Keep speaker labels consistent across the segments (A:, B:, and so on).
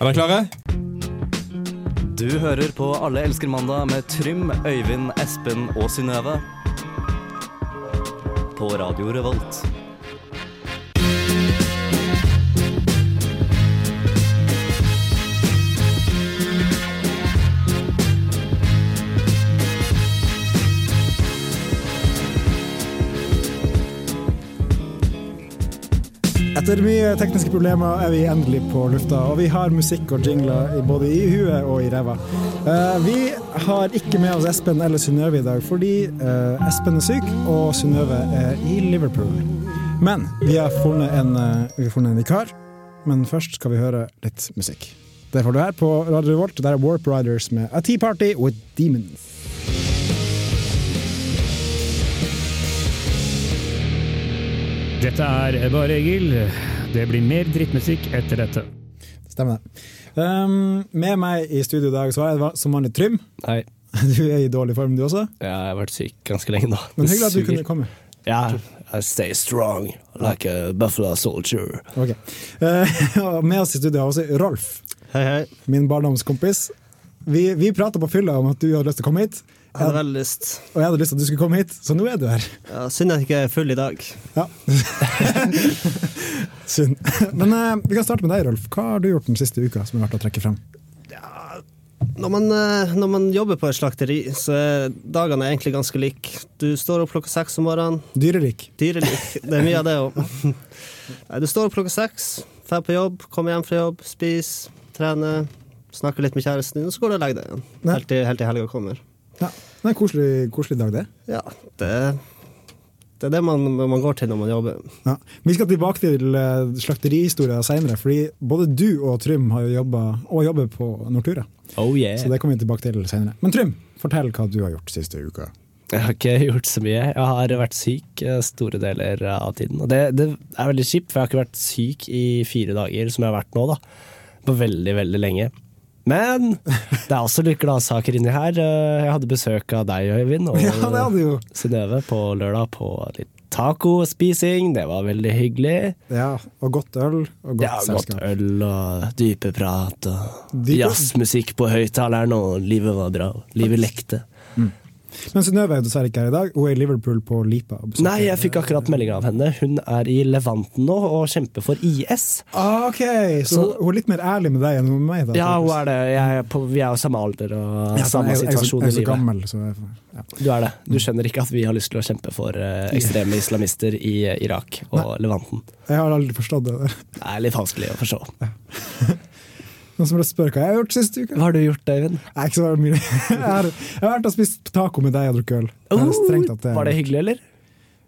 A: Er dere klare?
B: Du hører på Alle elsker mandag med Trym, Øyvind, Espen og Synnøve. På Radio Revolt.
C: Etter mye tekniske problemer er vi endelig på lufta, og vi har musikk og jingler i- både i huet og i ræva. Eh, vi har ikke med oss Espen eller Synnøve i dag, fordi eh, Espen er syk og Synnøve er i Liverpool. Men vi har funnet en, eh, vi har funnet en vikar. Men først skal vi høre litt musikk. Det får du her på Radio Revolt. Der er Warp Riders med A Tea Party with Demons.
D: Dette er Bare Egil. Det blir mer drittmusikk etter dette.
C: Stemmer det. Um, med meg i studio i dag så har jeg va- som vanlig Trym.
E: Hei.
C: Du er i dårlig form, du også.
E: Ja, jeg har vært syk ganske lenge nå.
C: Men hyggelig at du
E: Det
C: kunne
E: suger.
C: komme.
E: Ja, I stay strong like a buffalo soldier.
C: Ok. Eh, og med oss i studio har vi også Rolf,
F: Hei, hei.
C: min barndomskompis. Vi, vi prata på fylla om at du hadde lyst til å komme hit,
F: Jeg hadde veldig lyst.
C: og jeg hadde lyst til at du skulle komme hit, så nå er du her.
F: Ja, synd jeg ikke er full i dag.
C: Ja. Synd. Men eh, vi kan starte med deg, Rolf. Hva har du gjort den siste uka som er verdt å trekke frem?
F: Når man, eh, når man jobber på et slakteri, så er dagene egentlig ganske like. Du står opp klokka seks om morgenen.
C: Dyrelik.
F: Dyrelik. Det er mye av det òg. Du står opp klokka seks, drar på jobb, kommer hjem fra jobb, spiser, trener, snakker litt med kjæresten din, og så går du og legger deg igjen.
C: Nei.
F: Helt til, helt til helga kommer.
C: Ja. Det er en koselig, koselig dag, det.
F: Ja, det, det er det man, man går til når man jobber.
C: Ja. Vi skal tilbake til eh, slakterihistorier seinere, fordi både du og Trym har jo jobba og jobber på Nortura.
E: Oh yeah.
C: Så det kommer vi tilbake til seinere. Men Trym, fortell hva du har gjort siste uka.
E: Jeg har ikke gjort så mye. Jeg har vært syk eh, store deler av tiden. Og det, det er veldig kjipt, for jeg har ikke vært syk i fire dager, som jeg har vært nå, da. På veldig, veldig lenge. Men det er også litt gladsaker inni her. Eh, Jeg hadde besøk av deg, Øyvind, og
C: Ja, det hadde jo
E: Synnøve på lørdag på litt tacospising. Det var veldig hyggelig.
C: Ja, og godt øl og godt
E: Ja, godt
C: selskap.
E: øl og dype prat og
C: Dype-
E: jazzmusikk på høyttaleren, og livet var bra. Livet lekte.
C: Men Synnøve er jo dessverre ikke her i dag. Hun er i Liverpool på Lipa. og besøker-
E: Nei, jeg fikk akkurat melding av henne. Hun er i Levanten nå og kjemper for IS.
C: Ah, ok, så,
E: Så-
C: hun- hun er litt mer ærlig med deg enn med meg? Da,
E: Ja, hun er det. Jeg er på, vi er jo samme alder og
C: Ja, for
E: samme
C: jeg- jeg er så-
E: situasjon
C: jeg
E: i
C: er så
E: livet.
C: gammel, så jeg, ja.
E: Du er det. Du skjønner ikke at vi har lyst til å kjempe for eh, ekstreme islamister i eh, Irak og Levanten.
C: jeg har aldri forstått det der.
E: Det er litt vanskelig å forstå.
C: Noen som vil spørre hva jeg har gjort siste uke?
E: Hva har du gjort, Øyvind?
C: Nei, ikke så mye. Jeg har, jeg har vært og spist taco med deg og drukket øl. Det er strengt tatt
E: Oh, var det hyggelig, eller?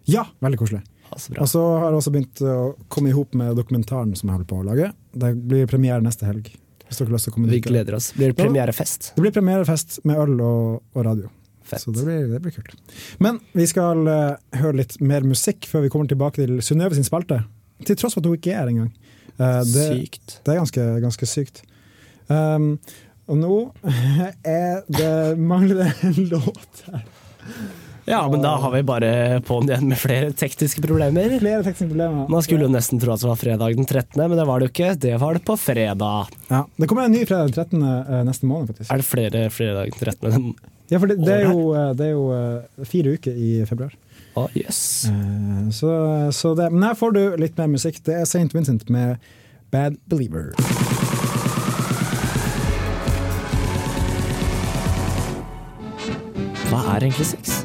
C: Ja, veldig koselig.
E: Ja, så bra.
C: Og så har jeg også begynt å komme i hop med dokumentaren som jeg holder på å lage. Det blir premiere neste helg. Hvis dere har lyst til å komme
E: Vi
C: dit.
E: gleder oss. Blir det
C: Ja.
E: premierefest?
C: Det blir premierefest med øl og, og radio.
E: Fett.
C: Så det blir, det blir kult. Men vi skal eh, høre litt mer musikk før vi kommer tilbake til Synnøve sin spalte. Til tross for at hun ikke er her engang. Eh, det,
E: Sykt.
C: det er ganske, ganske sykt. Um, og nå er det mangler det en låt her.
E: Ja, men da har vi bare på'n igjen med flere tekniske problemer.
C: Flere tekniske problemer.
E: Man skulle jo nesten tro at det var fredag den 13., men det var det jo ikke. Det var det på fredag.
C: Ja, det kommer en ny fredag den 13. eh, neste måned, faktisk.
E: Er det flere fredag den 13.?
C: Ja, for det, det er jo, eh, det er jo eh, fire uker i februar.
E: Å, jøss.
C: Eh, Så, så det, men her får du litt mer musikk. Det er St. Vincent med Bad Believer.
E: Hva er egentlig sex?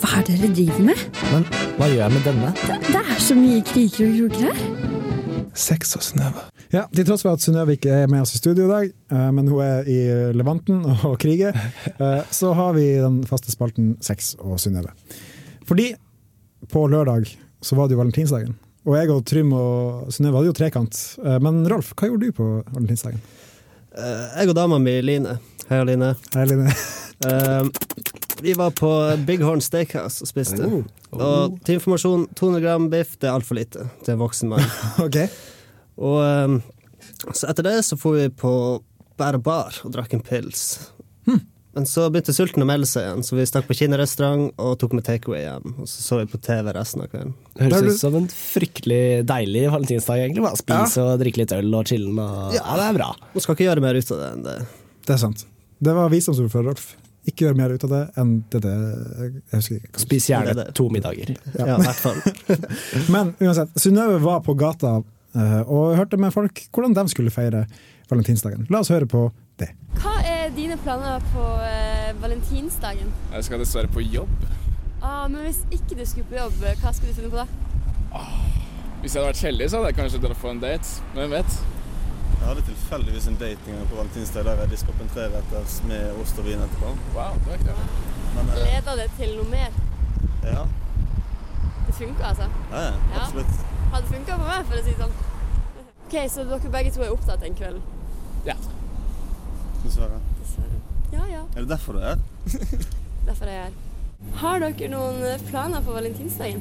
G: Hva er det dere driver med?
E: Men hva gjør jeg med denne?
G: Det er så mye kriker og kroker her.
E: Sex og snøve.
C: Ja, Til tross for at Synnøve ikke er med oss i studio i dag, eh, men hun er i Levanten og kriger, eh, så har vi den faste spalten Sex og Synnøve. Fordi på lørdag så var det jo valentinsdagen. Og jeg og Trym og Synnøve hadde jo trekant. Eh, Men Rolf, hva gjorde du på valentinsdagen?
F: Eh, Jeg og dama mi, Line. Hei, Line.
C: Hei, Line.
F: Eh, vi var på Big Horn Steakhouse og spiste.
E: Oh.
F: Og til informasjon, 200 gram biff det er altfor lite til en voksen mann.
C: Ok.
F: Og ehm,
E: Hm.
F: eh, så etter det så for vi på Bær Bar og drakk en pils. Men så begynte sulten å melde seg igjen, så vi stakk på kinarestaurant og tok med takeaway hjem. Og så så vi på TV resten av kvelden.
C: Da er
E: Høres
C: du-
E: ut som en fryktelig deilig valentinsdag, egentlig. Bare spise og drikke litt øl og chille. Og... Ja, det er bra.
F: Man skal ikke gjøre mer ut av det enn det.
C: Det er sant. Det var visdomsord fra Rolf. Ikke gjør mer ut av det enn det det Jeg husker ikke.
E: Spis
F: Det
E: gjerne
F: er det.
E: to middager.
F: Ja, i hvert fall.
C: Men uansett, Synnøve var på gata eh, og hørte med folk hvordan de skulle feire valentinsdagen. La oss høre på det.
H: Hva er dine planer på eh, valentinsdagen?
I: Jeg skal dessverre på jobb.
H: Ah, men hvis ikke du skulle på jobb, eh, hva skulle du finne på da?
I: Hvis jeg hadde vært heldig, så hadde jeg kanskje dratt på en date. Men hvem vet?
J: Jeg hadde tilfeldigvis en dating på valentinsdag der jeg diska opp en treretters med ost og vin etterpå.
I: Wow, det var ikke det.
J: Men eh,
H: Leder det til noe mer?
J: ja,
H: Det funker, altså.
J: ja, ja,
H: Ja.
J: absolutt.
H: Hadde funka for meg, for å si det sånn. OK, så dere begge to er opptatt den kvelden?
J: Dessverre.
H: Dessverre. Ja ja,
J: Er det derfor du er her?
H: derfor er jeg her. Har dere noen planer for valentinsdagen?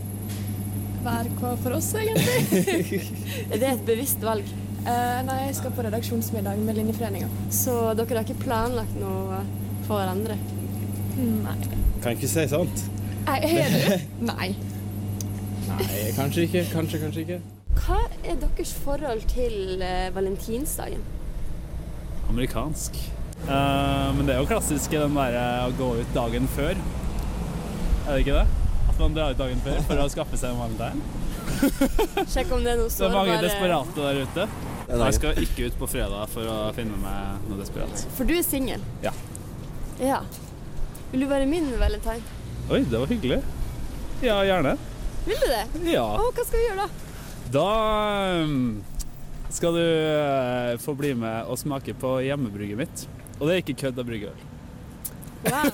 K: Hver hva for oss, egentlig.
H: Er det et bevisst valg?
K: Eh, nei, jeg skal på redaksjonsmiddag med Linjeforeninga.
H: Så dere har ikke planlagt noe for hverandre?
K: Nei.
J: Kan ikke si sant.
K: Nei, er du? Nei.
I: Nei, kanskje ikke. Kanskje, kanskje ikke.
H: Hva er deres forhold til eh, valentinsdagen?
L: Amerikansk. Eh, men det er jo klassisk den derre å gå ut dagen før. Er det ikke det? At man drar ut dagen før for å skaffe seg en valentine.
H: Sjekk om det er noe
L: Det er mange
H: sårbare
L: desperate der ute. Jeg skal ikke ut på fredag for å finne meg noe desperat.
H: For du er singel?
L: Ja.
H: Ja. Vil du være min valentine?
L: Oi, det var hyggelig. Ja, gjerne.
H: Vil du det?
L: Ja.
H: Å, hva skal vi gjøre da?
L: Da ehm, skal du eh, få bli med og smake på hjemmebrygget mitt. Og det er ikke kødd av bryggeøl.
H: Wow.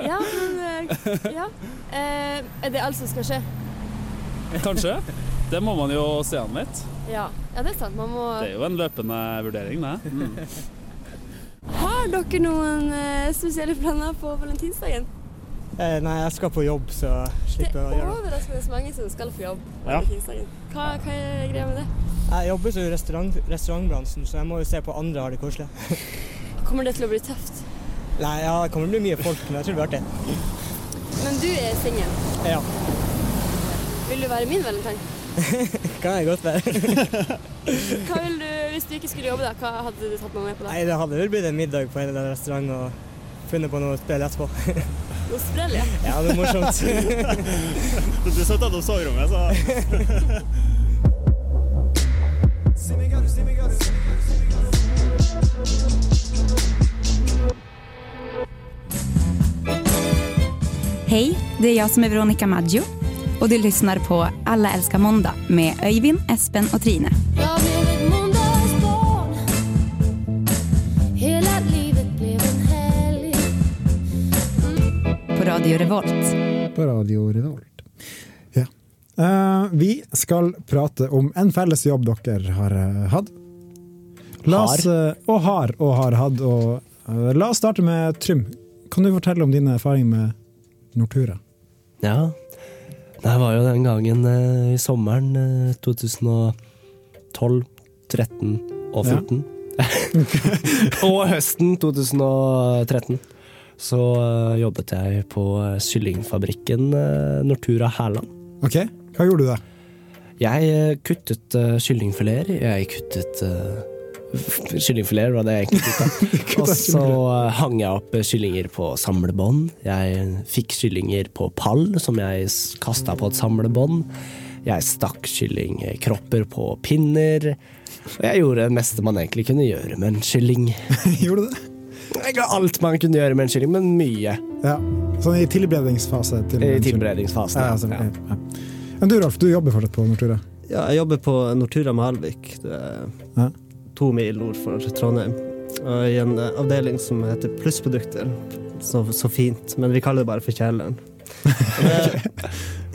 H: Ja, men eh, Ja. Eh, er det alt som skal skje?
L: Kanskje. Det må man jo se an litt.
H: Ja. ja, det er sant. Man må
L: Det er jo en løpende vurdering, det. Mm.
H: Har dere noen eh, spesielle planer på valentinsdagen?
E: nei, jeg skal på jobb, så
H: Det er overraskende mange som skal på jobb på
L: Ja.
H: valentinsdagen. Hva, hva er greia med det?
E: Jeg jobber i restaurantbransjen, så jeg må jo se på andre har det koselig.
H: Kommer det til å bli tøft?
E: Nei, ja, det kommer til å bli mye folk, men jeg tror det blir artig.
H: Men du er singel.
E: Ja.
H: Vil du være min valentine?
E: Kan jeg godt være.
H: Hva vil du, Hvis du ikke skulle jobbe, da, hva hadde du tatt meg med på da?
E: det hadde vel blitt en middag på en eller annen restaurant og funnet på noe å spille etterpå.
H: Noe sprell, ja.
E: Ja, det er morsomt.
J: Du satt av soverommet, så
G: Hej, det är jag som är Veronica Maggio och du lyssnar på Alla älskar måndag med Öyvind, Espen och Trine.
H: Jag blev ett måndagsbarn Hela livet blev en helg
G: På Radio Revolt.
C: På Radio Revolt. Ja. Eh, vi skal prate om en felles jobb dere har eh, hatt. La oss, eh, og har og har hatt. Og, eh, la oss starte med Trym. Kan du fortelle om dine erfaringer med Nortura?
E: Ja, det var jo den gangen eh, i sommeren eh, 2012, 13 og 14. og høsten 2013 så eh, jobbet jeg på eh, kyllingfabrikken eh, Nortura Hærland.
C: Ok, Hva gjorde du da?
E: Jeg eh, kuttet eh, kyllingfileter. Jeg kuttet eh, f- Kyllingfileter var det jeg egentlig kuttet. Og så eh, hang jeg opp eh, kyllinger på samlebånd. Jeg fikk kyllinger på pall, som jeg kasta på et samlebånd. Jeg stakk kyllingkropper på pinner. Og jeg gjorde det meste man egentlig kunne gjøre med en kylling.
C: gjorde du det?
E: Egentlig alt man kunne gjøre med en kylling, men mye
C: Ja. Sånn i tilberedningsfase? Til
E: i
C: Ja, altså,
E: tilberedningsfasen.
C: ja. Ja. Men du Rolf, du jobber fortsatt på Nortura?
F: Ja, jeg jobber på Nortura med Halvik. Det er
C: Ja.
F: to mil nord for Trondheim. Og I en eh, avdeling som heter Plussprodukter. Så, så fint, men vi kaller det bare for Kjelleren. Og Det,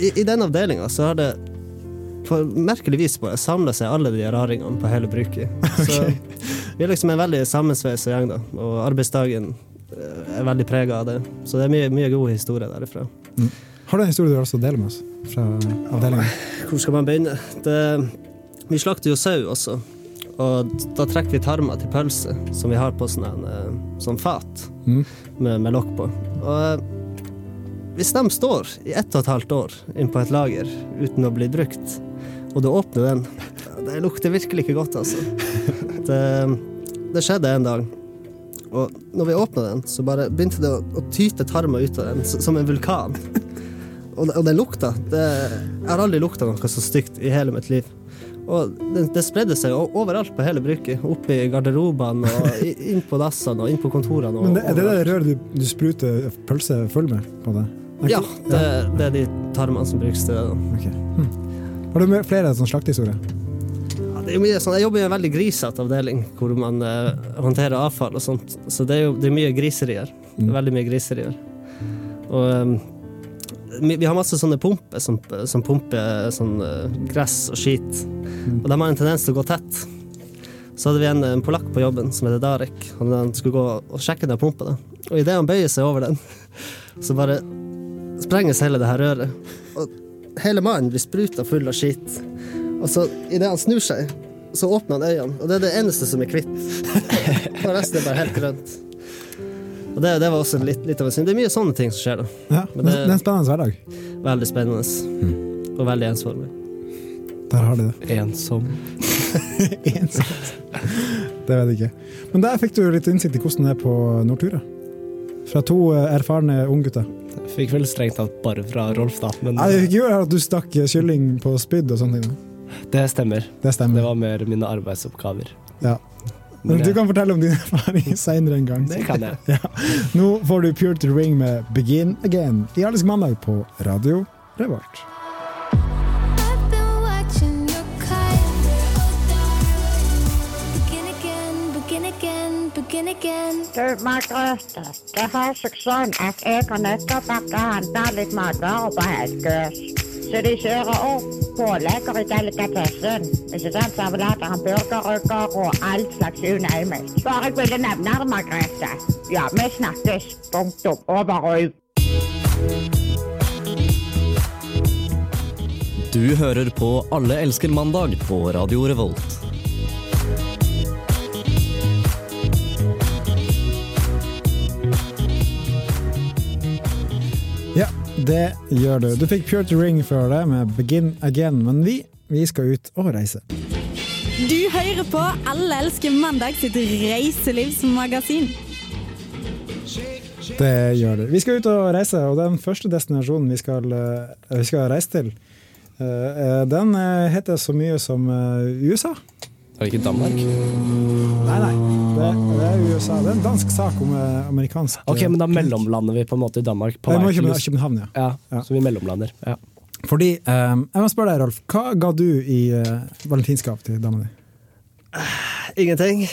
F: i, I den avdelinga så har det på merkelig vis bare samla seg alle de raringene på hele bruket. Så vi er liksom en veldig sammensveisa gjeng, da. Og arbeidsdagen eh, er veldig prega av det. Så det er mye, mye god historie derifra.
C: Har du en historie du også deler med oss fra avdelingen?
F: Hvor skal man begynne? Det, vi slakter jo sau også. Og da trekker vi tarma til pølse, som vi har på sånn en, eh, sånn fat
C: Mm.
F: med, med lokk på. Og eh, hvis de står i ett og et halvt år inn på et lager uten å bli brukt, og du åpner den Det lukter virkelig ikke godt, altså. Det, det skjedde en dag. Og når vi åpna den, så bare begynte det å, å tyte tarmer ut av den, s- som en vulkan. Og, og den lukta det, Jeg har aldri lukta noe så stygt i hele mitt liv. Og det, det spredde seg o- overalt på hele bruket. Opp i garderobene og i- inn på dassene og inn på kontorene. Og,
C: Men det, er det
F: overalt.
C: det røret du, du spruter pølse full med? På det? Er
F: Ja,
C: ikke-
F: det, det er de tarmene som brukes til det. da.
C: Ok. Hm. Har du med flere sånne slaktehistorier?
F: Ja, det er jo mye sånn, jeg jobber i en veldig grisete avdeling, hvor man eh, håndterer avfall og sånt. Så det er jo det er mye griserier. Det er Veldig mye griserier. Og eh, vi vi har masse sånne pumper som, som pumper sånn eh, gress og skit. Og de har en tendens til å gå tett. Så hadde vi en, en polakk på jobben som heter Darek. og Han skulle gå og sjekke den pumpa. Da. Og idet han bøyer seg over den, så bare sprenges hele det her røret. Og hele mannen blir spruta full av skit. Og så idet han snur seg, så åpner han øynene, og det er det eneste som er kvitt. Og resten er bare helt grønt. Og det, det var også litt, litt av en synd. Det er mye sånne ting som skjer, da.
C: Ja,
F: Men
C: det,
F: det-
C: det er en spennende hverdag.
F: Veldig spennende.
E: Hmm.
F: Og veldig ensformig.
C: Der har de det.
E: Ensom.
C: Ensomt. Det vet jeg ikke. Men der fikk du litt innsikt i hvordan det er på Nordtura. Fra to eh, erfarne unggutter.
E: Fikk vel strengt tatt bare fra Rolf, da. Men
C: Nei, Det fikk jo at du stakk eh, kylling på spyd og sånne ting.
E: det stemmer.
C: Det stemmer.
E: Det var mer mine arbeidsoppgaver.
C: Ja. Men du kan fortelle om din erfaring seinere en gang.
E: Det kan jeg.
C: Ja. Nå får du Pure to the Ring med Begin Again i Alisk mandag på Radio Revolt.
M: Du, Margrethe, det har seg sånn at jeg har nettopp vært og handla litt matvarer på Helgøs. Så de kjører opp pålegger i delikatessen. Ikke sant? Servelater, hamburgerrygger og all slags unøyelig. Bare jeg ville nevne det, Margrethe. Ja, vi snakkes. Punktum. Over og ut.
B: Du hører på Alle elsker mandag på Radio Revolt.
C: Ja, det gjør du. Du fikk Pure to Ring før det med Begin Again, men vi, vi skal ut og reise.
N: Du hører på Alle elsker mandag sitt reiselivsmagasin.
C: Det gjør det. Vi skal ut og reise, og den første destinasjonen vi skal, eh, vi skal reise til, eh, eh, den eh, heter så mye som eh, USA.
E: Var det ikke Danmark?
B: Mm.
C: Nei, nei. Det, det er USA. Det er en dansk sak om eh, amerikansk
E: Ok, men da mellomlander vi på en måte i Danmark. På
C: Nei,
E: vei
C: må
E: til
C: København,
E: Lus-
C: København, ja.
E: Ja, så vi mellomlander. Ja.
C: Fordi, eh, jeg må spørre deg, Rolf, hva ga du i eh, valentinsgave til dama di?
F: Ingenting.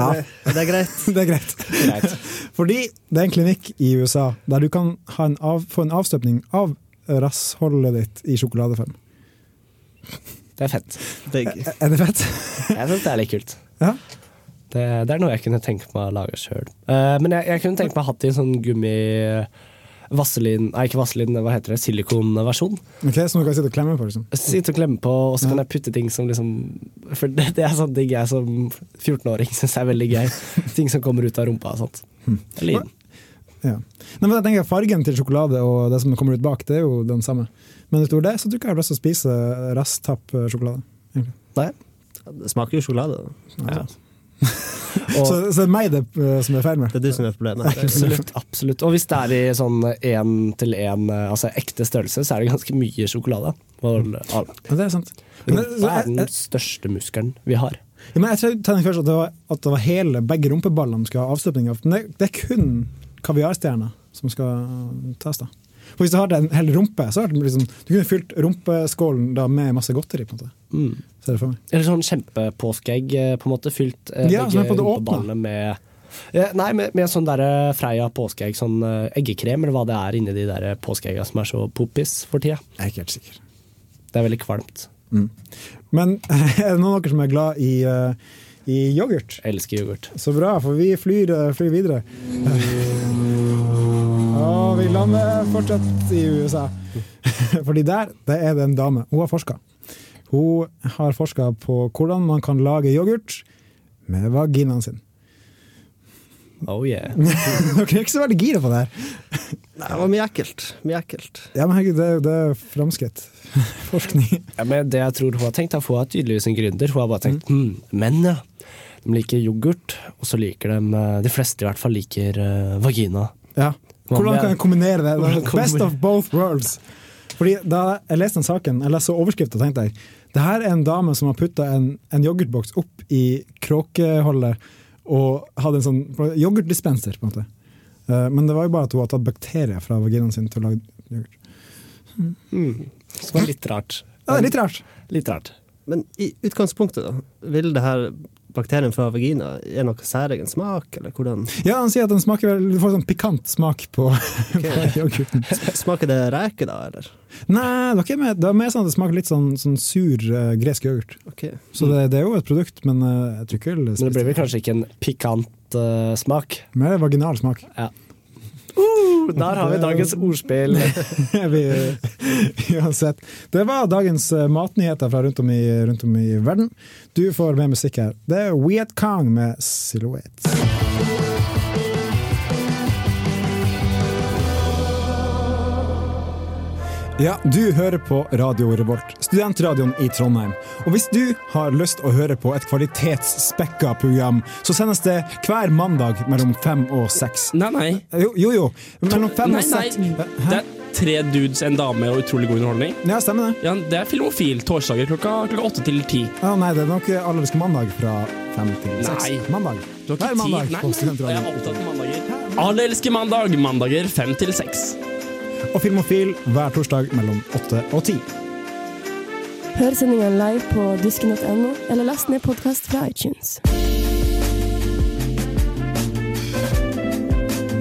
C: Ja.
F: Det, det er greit.
C: det er greit. Fordi det er en klinikk i USA der du kan ha en av, få en avstøpning av rassholdet ditt i sjokoladeform.
E: Det er fett.
F: Digg.
C: Er- Er det fett?
E: Jeg syns det er litt kult.
C: Ja.
E: Det, det er noe jeg kunne tenke meg å lage sjøl. men jeg, jeg kunne tenke meg å ha hatt i en sånn gummi... Vaselin, nei ikke vaselin, hva heter det? Silikonversjon.
C: Ok, Som du kan sitte og klemme på? liksom.
E: Sitte og klemme på, og så kan jeg putte ting som liksom For det, det er sånn ting jeg som 14-åring syns er veldig gøy. ting som kommer ut av rumpa og sånt.
C: Hmm.
E: Jeg liker den.
C: Ja. Nei, men jeg tenker Fargen til sjokolade og det som kommer ut bak, det er jo den samme. Men utover det så tror jeg ikke jeg har lyst til å spise rasstapp-sjokolade. egentlig.
F: Det smaker jo sjokolade. da.
C: Ja. så, så det er meg det eh, som er feil med.
F: Det er du som er problemet.
E: Absolutt. absolutt Og hvis det er i sånn én til én, altså ekte størrelse, så er det ganske mye sjokolade. Og,
C: Ja, det er sant. Hmm. Men,
E: Hva er den største muskelen vi har?
C: Ja, men jeg tror tenkte først at det var, at det var hele begge rumpeballene skal ha avstøpning av. Men det, det er kun kaviarstjerna som skal eh, tas, da. For hvis du har en hel rumpe, så har du liksom, du kunne fylt rumpeskålen da med masse godteri. på en måte.
E: Mm.
C: Ser du for meg?
E: Eller sånn kjempepåskeegg, eh, på en måte, fylt eh,
C: Ja, som er på det åpne.
E: rumpeballene med Eh, Nei, med, med sånn der eh, Freia påskeegg, sånn eh, eggekrem, eller hva det er inni de der eh, påskeegga som er så poppis for tida.
C: Jeg er ikke helt sikker.
E: Det er veldig kvalmt.
C: Men er det noen av dere som er glad i, eh, i yoghurt?
E: Jeg elsker yoghurt.
C: Så bra, for vi flyr, eh, flyr videre. Og vi lander fortsatt i USA. Fordi der det er det en dame. Hun har forska. Hun har forska på hvordan man kan lage yoghurt med vaginaen sin.
E: Oh yeah.
C: Dere er ikke så veldig gira på det her.
F: Nei, det var mye ekkelt. Mye ekkelt.
C: Ja, men herregud, det, er jo- det er framskritt. Forskning.
E: Ja, men det jeg tror hun har tenkt, er at hun er tydeligvis en gründer. Hun har bare tenkt mm. menn, ja. De liker yoghurt, og så liker de eh, De fleste i hvert fall liker eh, vagina.
C: Ja. Hvordan kan jeg kombinere det?
E: Hvordan
C: det er best
E: kombinere-
C: of both worlds. Fordi Da jeg leste den saken, jeg leste overskriften, tenkte jeg det her er en dame som har putta en, en yoghurtboks opp i kråkeholder og hadde en sånn yoghurtdispenser. på en måte. Eh, Men det var jo bare at hun har tatt bakterier fra vaginaen sin til å lage yoghurt.
E: Mm. Som er litt rart.
C: Ja, det er litt rart.
E: Litt rart.
F: Men i utgangspunktet, da, vil det her bakterien fra vagina gi noe særegen smak, eller hvordan
C: Ja, Han sier at den smaker vel, du får sånn pikant smak på, på yoghurten.
F: Smaker det reke, da, eller?
C: Nei, det er, ikke mer, det er mer sånn at det smaker litt sånn, sånn sur eh, gresk yoghurt.
F: Ok.
C: Så det, det er jo et produkt, men eh, jeg tror ikke jeg vil
E: Mm. Men det
C: spise
E: blir vel kanskje ikke en pikant eh, smak.
C: Mer vaginal smak.
E: Ja. Uh, der har vi dagens ordspill.
C: vi, uansett. Det var dagens eh, matnyheter fra rundt om, i, rundt om i verden. Du får mer musikk her. Det er Weat Kong med 'Silhouette'. Ja, du hører på Radio Revolt, studentradioen i Trondheim. Og hvis du har lyst å høre på et kvalitetsspekka program, så sendes det hver mandag mellom fem og seks.
O: Nei, nei.
C: Jo, jo. jo. Mellom fem
O: Nei,
C: og
O: nei.
C: seks.
O: Det er tre dudes, en dame og utrolig god underholdning.
C: Ja, stemmer det.
O: Ja, det er Filmofil torsdager klokka, klokka åtte til ti.
C: Ja, nei, det er nok Allerske mandag fra fem til seks.
O: Nei.
C: Mandag.
O: Du har
C: Hver
O: ikke
C: mandag
O: tid. Nei, nei, nei.
C: på
O: Jeg
C: Studentradioen.
O: er opptatt av mandager. Alle elsker mandag. Mandager fem til seks.
C: Og Filmofil hver torsdag mellom åtte og ti.
P: Hør sendingen live på dusken.no, eller last ned podkast fra iTunes.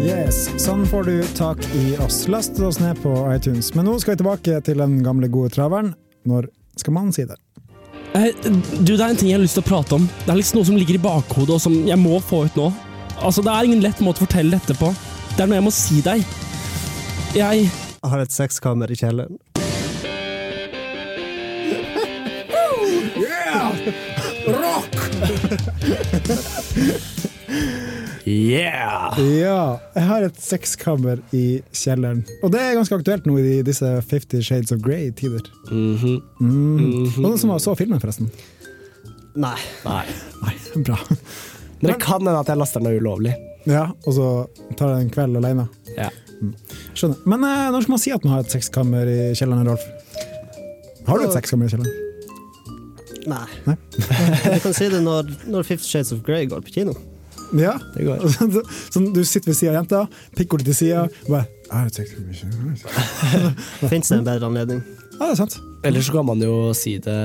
C: Yes, Sånn får du tak i oss. Last oss ned på iTunes. Men nå skal vi tilbake til den gamle, gode traveren. Når skal man si det?
O: Eh, du, det er en ting jeg har lyst til å prate om. Det er liksom noe som ligger i bakhodet, og som jeg må få ut nå. Altså, det er ingen lett måte å fortelle dette på. Det er noe jeg må si deg. Jeg
F: Jeg har et sexkammer i kjelleren.
C: Yeah! Rock!
O: Yeah!
C: Ja. Jeg har et sexkammer i kjelleren. Og det er ganske aktuelt nå i disse Fifty Shades of Grey-tider.
O: Mhm. Mm-hmm.
C: Mm. Noen som så filmen, forresten?
F: Nei.
E: Nei.
C: Bra.
E: Men det kan hende at jeg laster den ulovlig.
C: Ja, og så tar det en kveld alene.
E: Ja.
C: Skjønner. Men eh, når skal man si at man har et sexkammer i kjelleren, Rolf? Har du et sexkammer i kjelleren?
F: Nei. Du kan si det når, når Fifty Shades of Grey går på kino.
C: Ja.
F: Det går.
C: Så- Sånn, du sitter ved sida av jenta, pikkord til sida, og bare «Jeg har et sexkammer i kjelleren».
F: Fins det en bedre anledning?
C: Ja, det er sant.
E: Eller så kan man jo si det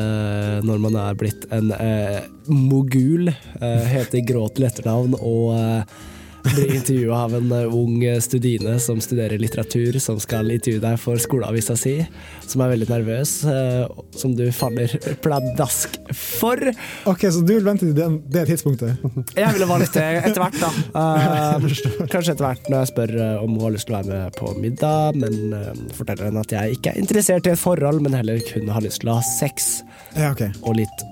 E: når man er blitt en eh, mogul, eh, heter Grå til etternavn og eh, blir intervjua av en eh, ung studine som studerer litteratur, som skal intervjue deg for skoleavisa si, som er veldig nervøs, eh, som du faller pladask for.
C: Ok, Så du vil vente til den, det tidspunktet?
E: Jeg ville være litt eh, etter hvert, da. Eh, kanskje etter hvert når jeg spør eh, om hun har lyst til å være med på middag, men eh, forteller henne at jeg ikke er interessert i et forhold, men heller kun har lyst til å ha sex.
C: Ja, ok.
E: Og litt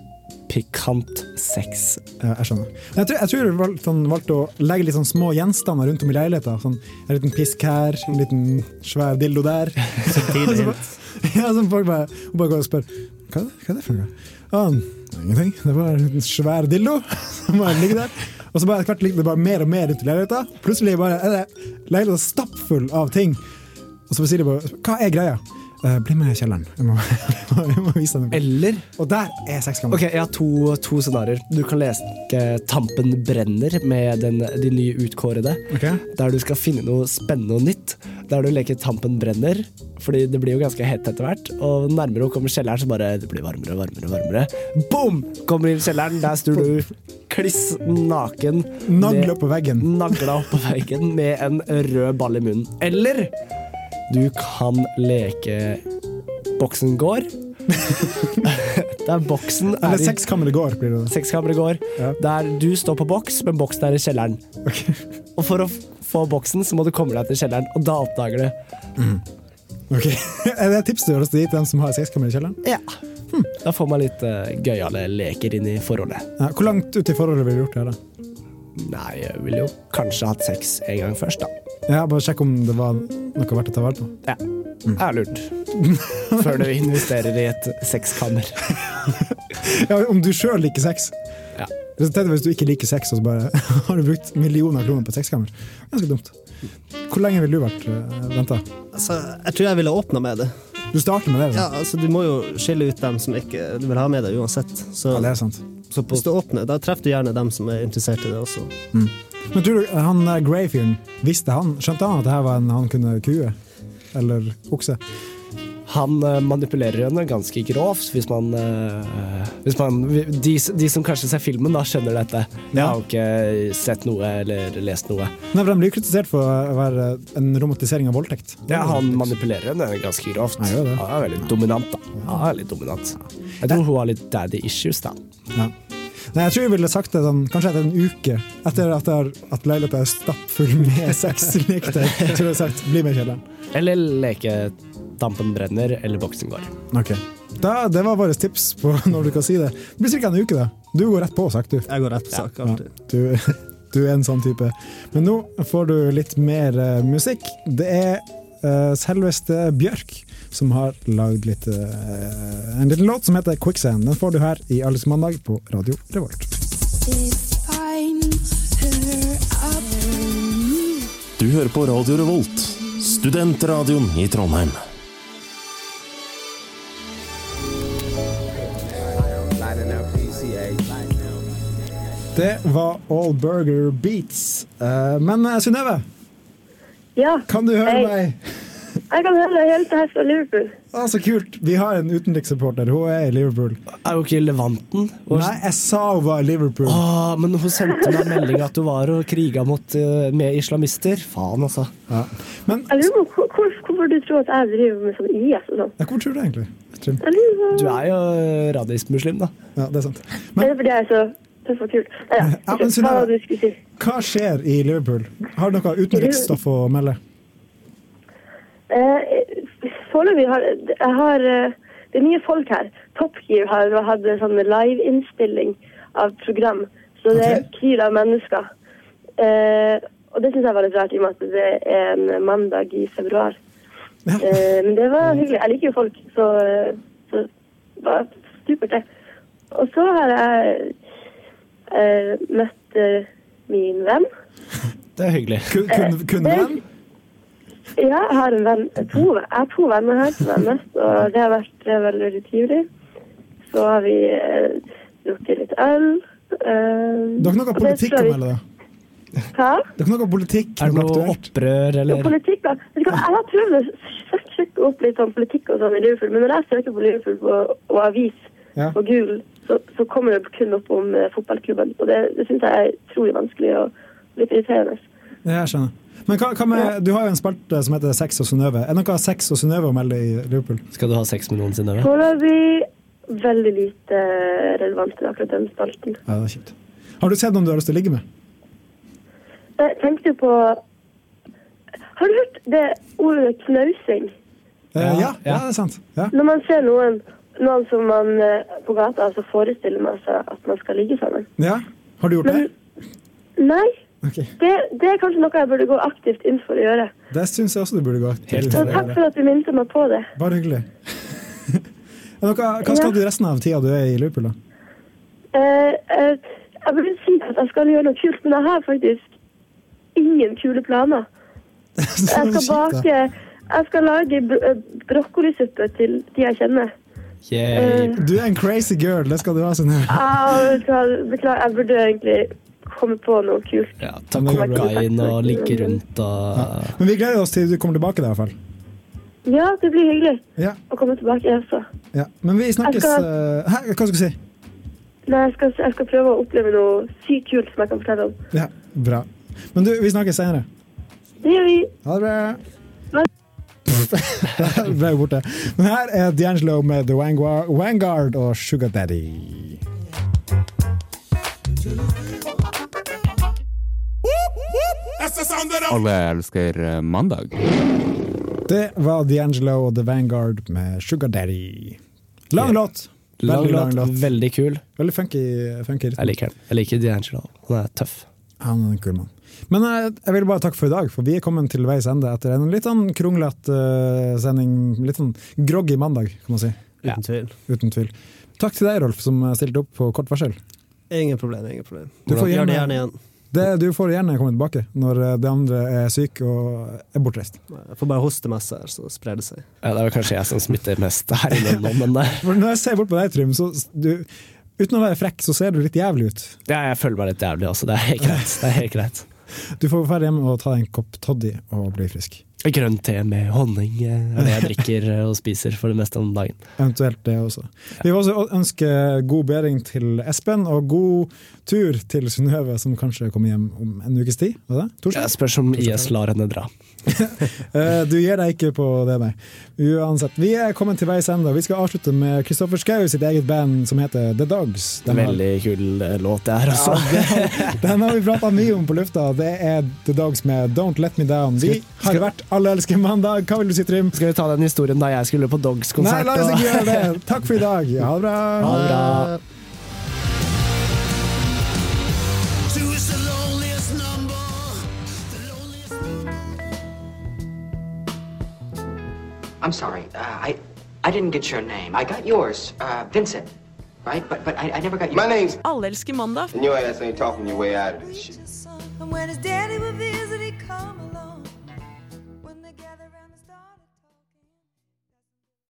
E: pikant sex.
C: Ja, jeg skjønner. Men Jeg tror, jeg tror du valgte, sånn, valgte å legge litt sånn små gjenstander rundt om i leiligheta. Sånn, en liten pisk her, en liten svær dildo der. Og så bare- ja, sånn folk bare, hun bare går og spør hva, er det- hva er det for noe. Ah, ingenting. Det var en liten svær dildo som bare ligger der. Og så bare etter hvert ligger det bare mer og mer rundt i leiligheta. Plutselig bare er det leiligheta stappfull av ting. Og så bare sier de bare Hva er greia? Eh, bli med i kjelleren. Jeg må, jeg må, jeg må vise deg noe.
E: Eller
C: Og der er sexkamera.
E: Ok, jeg har to, to scenarioer. Du kan lese eh, Tampen brenner med den, de nye utkårede.
C: Ok.
E: Der du skal finne noe spennende og nytt. Der du leker Tampen brenner, fordi det blir jo ganske hett etter hvert. Og nærmere hun kommer kjelleren, så bare det blir varmere og varmere. og varmere. Boom! Kommer inn i kjelleren, der står du kliss naken.
C: Nagla opp på veggen.
E: Nagla opp på veggen med en rød ball i munnen. Eller du kan leke Boksen går. Der boksen er
C: Eller
E: i-
C: sexkammeret går, blir det.
E: Sexkamera går. Der du står på boks, men boksen er i kjelleren. Og for å f- få boksen, så må du komme deg til kjelleren, og da oppdager du.
C: Ok, Er det et tips du gjør oss dit, dem som har sexkamera i kjelleren?
E: Ja. hm, Da får man litt uh, gøyale leker inn i forholdet.
C: Ja, Hvor langt ut i forholdet ville du gjort det? her, da?
E: Nei, jeg ville jo kanskje hatt sex en gang først, da.
C: Ja, Bare sjekk om det var noe verdt å ta vare på.
E: Ja, det er lurt. Før du investerer i et sexkammer.
C: Ja, om du sjøl liker sex.
E: Ja.
C: Resultatet er hvis du ikke liker sex, og så bare har du brukt millioner av kroner på et sexkammer. Ganske dumt. Hvor lenge ville du vært uh, venta?
F: Altså, jeg tror jeg ville åpna med det.
C: Du starter med det?
F: Ja, altså, du må jo skille ut dem som ikke du vil ha med deg uansett. Så,
C: det er sant.
F: Så på, hvis du åpner, da treffer du gjerne dem som er interessert i det også.
C: Men tror du han eh, Grey-fyren, visste han, skjønte han at det her var en han kunne kue? Eller okse?
E: Han eh, manipulerer henne ganske grovt, hvis man, eh, hvis man de, de som kanskje ser filmen, da skjønner dette. Jeg har jo ikke sett noe eller lest noe.
C: Nei, for De blir jo kritisert for å være en romantisering av voldtekt.
E: Ja, han manipulerer henne ganske grovt. Han
C: gjør det.
E: er veldig dominant, da. Han er litt dominant. Jeg tror hun har litt daddy issues, da.
C: Ja. Nei, jeg tror jeg ville sagt det sånn, kanskje etter en uke. Etter at, jeg har- at leiligheten er stappfull med sexlekter. Jeg tror jeg har sagt, bli med i kjelleren.
E: Eller leke dampen brenner eller boksen går.
C: Ok. Da, det var våre tips på når du kan si det. Det blir ca. en uke, da. Du går rett på sak, du.
F: Jeg går rett på sak, alltid.
C: Du, du er en sånn type. Men nå får du litt mer eh, musikk. Det er eh, selveste Bjørk som har lagd litt, eh, en liten låt som heter 'Quicksand'. Den får du her i Alles mandag på Radio Revolt.
H: If I her up
Q: Du hører på Radio Revolt, studentradioen i Trondheim.
C: Det var All Burger Beats. Eh, men eh, Synnøve,
H: Ja.
C: kan du høre
H: Hei.
C: meg?
H: Jeg kan høre deg helt her fra Liverpool.
C: Ah, så kult. Vi har en utenrikssupporter. Hun er i Liverpool.
E: Er hun ikke i Levanten?
C: Nei, jeg sa hun var i Liverpool.
E: Åh, men hun sendte meg melding at du var og kriga mot, eh, med islamister. Faen, altså.
H: Jeg lurer på hvor- hvor, hvorfor du tror at jeg driver med sånn IS og sånn.
C: Hvor tror du egentlig?
H: Jeg lurer på-
E: Du er jo eh, radismuslim, da.
C: Ja, det er sant.
H: Er det fordi jeg er så tøff og kul? Nei, ja.
C: Ja, men
H: Unnskyld, Hva var
C: Synnøve,
H: det du skulle si?
C: hva skjer i Liverpool? Har du noe utenriksstoff å melde?
H: Eh, Foreløpig har jeg har eh, Det er mye folk her. Top Gear har hatt en sånn liveinnspilling av program, så det kryr av mennesker. Eh, og det syns jeg var litt rart, i og med at det er en mandag i februar. Eh, men det var hyggelig. Jeg liker jo folk, så, eh, så det var supert, det. Og så har jeg eh, møtt eh, min venn.
E: Det er hyggelig.
H: venn? Ja, jeg har en venn. To, jeg har to venner her som er mest, og det har vært eh, veldig, veldig trivelig. Så har vi eh, drukket litt øl. eh,
C: Dere har
H: og
C: noe
H: det
C: politikk
H: tror
C: å
H: jeg vi-
C: melde, da?
H: Hæ?
C: Dere har noe politikk? Er det noe
E: opprør,
H: Jo, politikk, da. Vet du hva, Jeg har prøvd å sø- søke opp litt sånn politikk og sånn i Liverpool, men når jeg søker på Liverpool på, og avis
C: Ja.
H: på Google, så, så kommer det kun opp om eh, fotballklubben. Og det, det syns jeg er utrolig vanskelig og litt irriterende.
C: Ja, jeg skjønner. Men hva, hva med, Du har jo en spalte som heter Sex og Synnøve. Er det noe av Sex og Synnøve å melde i Liverpool?
E: Skal du ha sex med noen, Synnøve?
H: Foreløpig veldig lite eh, relevant til akkurat den spalten.
C: Ja, det er kjipt. Har du sett noen du har lyst til å ligge med?
H: Jeg tenkte på Har du hørt det ordet knausing?
C: Eh, ja, ja, det er sant. Ja.
H: Når man ser noen, noen som man eh, på gata, så forestiller man seg at man skal ligge sammen.
C: ja. Har du gjort det?
H: Nei,
C: Ok.
H: det, det er kanskje noe jeg burde gå aktivt inn for å gjøre.
C: Det syns jeg også du burde gå til.
H: Så takk for at du minte meg på det.
C: Bare hyggelig. Er det noe, hva skal du resten av tida du er i Liverpool, da?
H: Eh, eh, jeg burde si at jeg skal gjøre noe kult, men jeg har faktisk ingen kule planer.
C: Så
H: Jeg skal
C: kjipt,
H: bake Jeg skal lage bro eh, brokkolisuppe til de jeg kjenner. Eh.
C: Du er en crazy girl, det skal du ha, Synnøve.
H: Ah, vet du hva, Beklager, jeg burde egentlig komme på noe kult.
E: Ja, ta kokain og ligge rundt og
C: Men vi gleder oss til du kommer tilbake, da, i hvert fall.
H: Ja, det blir hyggelig
C: Ja.
H: å komme tilbake. Jeg også.
C: Ja. Men vi snakkes
H: skal-
C: eh, Hæ, hva skal du si?
H: Nei, jeg, skal, jeg skal prøve å oppleve noe sykt kult som jeg kan fortelle om.
C: Ja, bra. Men du, vi snakkes senere.
H: Det gjør vi.
C: Ha det bra. Der Ble jeg borte. Men her er D'Angelo med The Wangua- Vanguard og Sugar Daddy.
R: Alle elsker eh, mandag.
C: Det var D'Angelo og The Vanguard med Sugar Daddy. Lang låt.
E: Lang
C: Veldig lang
E: låt,
C: låt.
E: veldig kul.
C: Veldig funky, funky rytme.
E: Jeg liker den. Jeg liker D'Angelo. Han er tøff.
C: Han er en kul mann. Men eh, jeg vil bare takke for i dag, for vi er kommet til veis ende etter en litt sånn kronglete eh, sending. Litt sånn groggy mandag, kan man si.
F: Uten tvil.
C: Uten tvil. Takk til deg, Rolf, som eh, stilte opp på kort varsel.
F: Ingen problem. ingen problem.
C: Du får
F: Gjør det
C: gjerne-
F: gjerne igjen.
C: Det, du får gjerne komme tilbake når eh, de andre er syke og er bortreist.
F: Jeg får bare hoste masse her, så sprer det seg.
E: Ja, det er vel kanskje jeg som smitter mest her inne nå, men eh,
C: For når jeg ser bort på deg, Trym, så s- du, uten å være frekk, så ser du litt jævlig ut.
E: ja, jeg føler meg litt jævlig også. Det er helt greit. Det er helt greit.
C: Du får dra hjem og ta deg en kopp toddy og bli frisk.
E: Grønn te med honning eh, er det jeg drikker eh, og spiser for det meste om dagen.
C: Eventuelt det også. Vi vil også ønske god bedring til Espen, og god tur til Synnøve, som kanskje kommer hjem om en ukes tid. Var det? det? Torsdag?
E: Jeg spørs om IS lar henne dra.
C: Eh, Du gir deg ikke på det, nei. Uansett. Vi er kommet til veis ende. og Vi skal avslutte med Kristoffer Schau sitt eget band som heter The Dogs. Den har-
E: Veldig kul eh, låt det her også.
C: Den har vi prata mye om på lufta. Det er The Dogs med Don't Let Me Down. Vi har vært Alle elsker mandag. Hva vil du si, Trym?
E: Skal vi ta den historien da jeg skulle på
C: Nei,
E: Dogs-konsert?
C: la oss
E: og-
C: ikke gjøre det. Takk for i dag. Ha det bra.
E: Ha det bra.
S: Two is the loneliest number.
T: I'm sorry. Uh, I I didn't get your name. I got yours, uh, Vincent, right? But but I, I never got your.
U: My name's-
T: Alle elsker mandag.
U: And your ass ain't talking your way out of this shit.
V: And when his daddy reveals